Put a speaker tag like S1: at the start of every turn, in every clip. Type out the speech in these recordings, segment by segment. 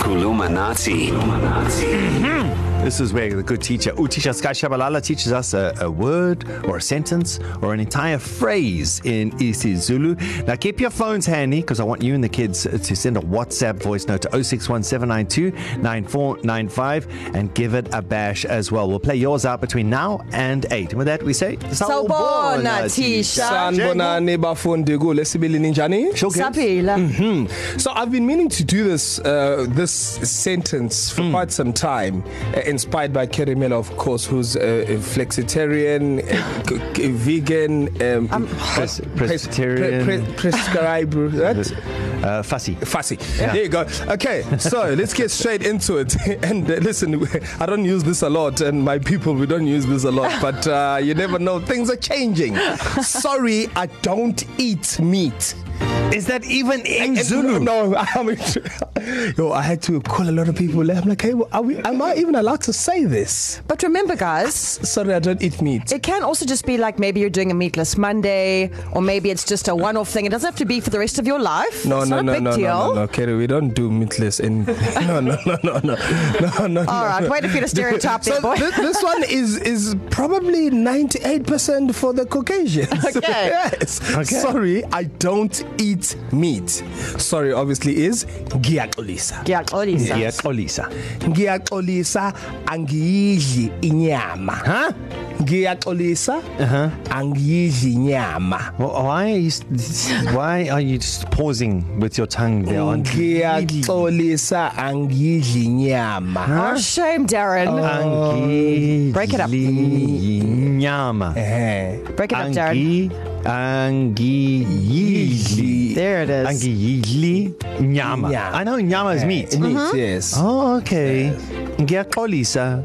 S1: Kulumanati.
S2: This is where the good teacher, Utisha Sky Shabalala, teaches us a, a word or a sentence or an entire phrase in isiZulu. Now keep your phones handy because I want you and the kids to send a WhatsApp voice note to 0617929495 and give it a bash as well. We'll play yours out between now and 8. And with that, we say,
S3: Sawubona, Tisha.
S4: Sanibonani bafundi kulesibili ninjani? Mm.
S3: Saphila.
S4: So I've been meaning to do this uh, this sentence for mm. quite some time, uh, inspired by Kerry Miller, of course, who's a, a flexitarian, a, a vegan, um, um,
S2: Pres- Presbyterian.
S4: pre- pre- prescribe what?
S2: Uh, fussy.
S4: fussy. Yeah. There you go. Okay, so let's get straight into it. And uh, listen, I don't use this a lot, and my people, we don't use this a lot, but uh, you never know. Things are changing. Sorry, I don't eat meat.
S2: Is that even in
S4: And- No, I mean, yo, I had to call a lot of people. I'm like, hey, are we, am I even allowed to say this?
S3: But remember, guys,
S4: Sorry, I don't eat meat.
S3: it can also just be like maybe you're doing a meatless Monday, or maybe it's just a one off thing. It doesn't have to be for the rest of your life.
S4: No,
S3: it's
S4: no,
S3: not a
S4: no,
S3: big
S4: no, no,
S3: deal.
S4: no, no, Kerry, we don't do meatless. And no, no, no, no, no, no, no.
S3: All right, way to feed a stereotype there, boy.
S4: Th- this one is is probably 98% for the Caucasians.
S3: Okay.
S4: yes. Okay. Sorry, I don't eat meat. Sorry, obviously is ngiyaxolisa.
S3: Ngiyaxolisa.
S2: Yes, Olisa.
S4: Ngiyaxolisa angiyidli inyama.
S2: Huh?
S4: Ngiyaxolisa uh-huh. angiyidli inyama.
S2: Well, why are you why are you just pausing with your tongue there on
S4: Ngiyaxolisa angiyidli inyama. Huh?
S3: Oh, shame, Darren.
S4: Oh.
S3: Break it up.
S2: Nyama.
S4: Eh.
S3: Break it up, Darren.
S2: Angiyidli.
S3: There it is.
S2: Angiyidli nyama.
S4: Nyama.
S2: I know nyama is meat.
S4: Meat, mm-hmm. yes.
S2: Oh, okay. Ngiyaxolisa.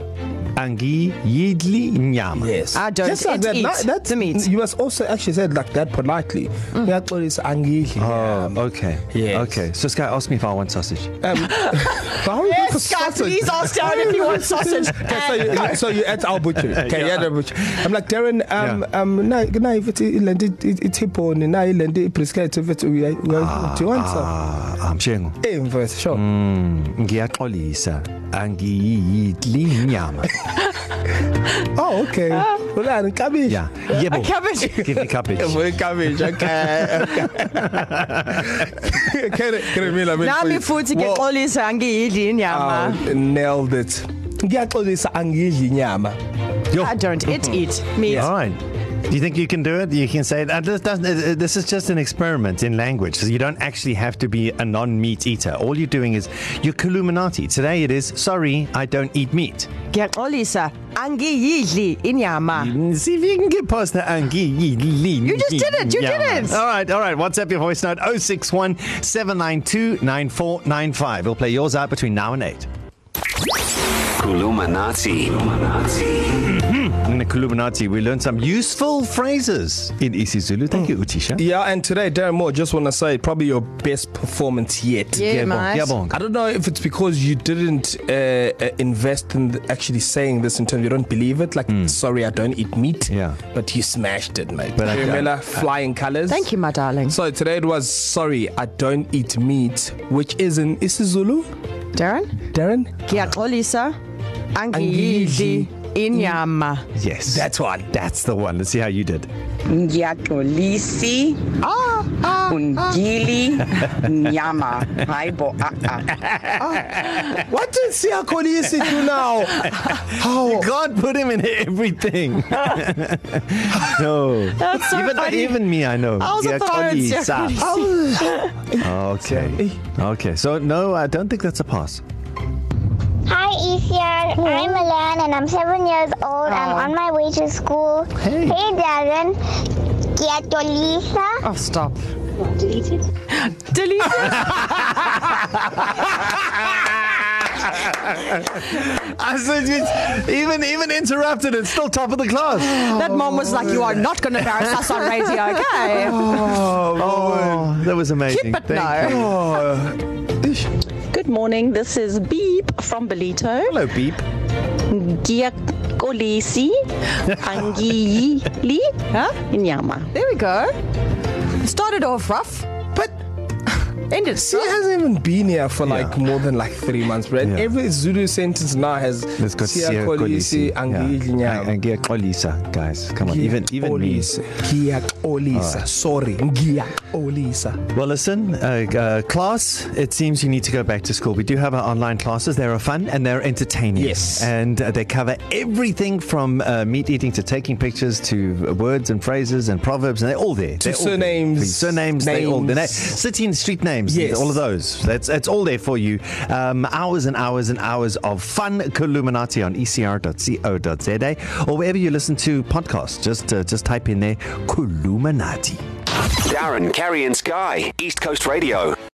S2: Angiyidli nyama.
S4: Yes.
S3: I don't
S4: Just like
S3: eat-
S4: that.
S3: eat
S4: That, that's
S3: the meat. Mm.
S4: You must also actually say it like that politely. Ngiyaxolisa angidli.
S2: Oh, okay.
S4: Yes.
S2: Okay. So Sky asked me if I want sausage.
S3: Yes, guys, please ask Darren if you want sausage.
S4: Okay, so, you, so you at our butcher. Okay, yeah. the butcher. I'm like Darren. Um,
S2: Yeah.
S4: yeah. um, na na ifithi ilende ithipone na ilende brisket ifithi uya
S3: Um,
S4: uya- do you want some?
S2: Ah, amshengo.
S4: Inverse, sure. Mm.
S2: Ngiyaxolisa. Angiyidli nyama.
S4: Oh, okay. Ulani cabbage.
S2: Yeah. Yebo.
S3: Ah. Cabbage.
S2: Give me cabbage.
S4: Boy, cabbage. Okay. okay. Kere kere mina mina.
S3: Nami futhi ngexolisa angiyidli inyama.
S4: Oh, nailed it. Ngiyaxolisa angidli inyama. uh,
S2: Yo.
S3: I don't it eat meat.
S2: All right. Do you think you can do it? You can say it. Uh, This, doesn't- uh, uh, this is just an experiment in language. So you don't actually have to be a non meat eater. All you're doing is you're Kuluminati. Today it is, sorry, I don't eat meat.
S3: Ngexolisa angiyidli inyama.
S2: See if you can get past the angi. You
S3: just did it, you did it.
S2: All right, all right. WhatsApp your voice note 061 792 9495. We'll play yours out between now and 8.
S1: Kulumanati. Kulumanati.
S2: In the Kuluminati, we learned some useful phrases in isiZulu. Thank you, Utisha.
S4: Yeah, and today, Darren Moore, just want to say probably your best performance yet.
S3: Yeah, mate.
S2: Yabong.
S4: I don't know if it's because you didn't uh, uh, invest in th- actually saying this in terms you don't believe it. Like, mm. sorry, I don't eat meat.
S2: Hmm. Yeah.
S4: But you smashed it, mate.
S2: But I-
S4: Remember, I, flying colors.
S3: Thank you, my darling.
S4: So today it was, sorry, I don't eat meat, which is in isiZulu,
S3: Darren,
S4: Darren?
S3: ngexolisa angiyidli inyama.
S2: Yes.
S4: That's one.
S2: That's the one. Let's see how you did.
S5: ngiyaxolisi
S3: Ah,
S5: ungili nyama hayi bo ah, a-a
S4: What did Siakolisi do now? How?
S2: God put him in everything. no.
S3: That's so
S2: even,
S3: funny.
S2: even me, I know.
S3: I also thought I heard
S2: Yakolisa.
S3: Siakolisi.
S2: Okay. Okay. So, no, I don't think that's a pass.
S6: Hi, Ethan. I'm Milan and I'm seven years old. I'm on my way to school.
S2: Hey.
S6: Hey, Darren. Kiatolisa.
S3: Oh, stop. Deleted. Deleted.
S2: I said, it's even even interrupted. It's still top of the class.
S3: That mom was like, you are not going to embarrass us on radio, okay?
S2: Oh, that was amazing.
S3: Keep it
S2: Thank you.
S3: now.
S7: Good morning. This is Beep from Belito.
S2: Hello, beep.
S7: Giacolisi Angili
S3: Huh?
S7: Nyama.
S3: There we go. Started off rough.
S4: But
S3: Ended.
S4: She hasn't even been here for
S2: Yeah.
S4: like more than like three months, right?
S2: Yeah.
S4: Every Zulu sentence now has
S2: It's got Sia Kolisi. Yeah. And Gia Kolisa, guys. Come on, even even me.
S4: Gia Olisa. Sorry. Gia Olisa.
S2: Well, listen, uh, uh, class, it seems you need to go back to school. We do have our online classes. They are fun and they're entertaining.
S4: Yes.
S2: And uh, they cover everything from uh, meat eating to taking pictures to uh, words and phrases and proverbs, and they're all there. They're all there.
S4: surnames,
S2: Please, Surnames, they all there.
S4: names.
S2: City and street names,
S4: Yes.
S2: all of those. That's, that's all there for you. Um, hours and hours and hours of fun Columinati on E ecr.co.za or wherever you listen to podcasts. Just, uh, just type in there, Columinati.
S1: Darren, Carrie, and Sky, East Coast Radio.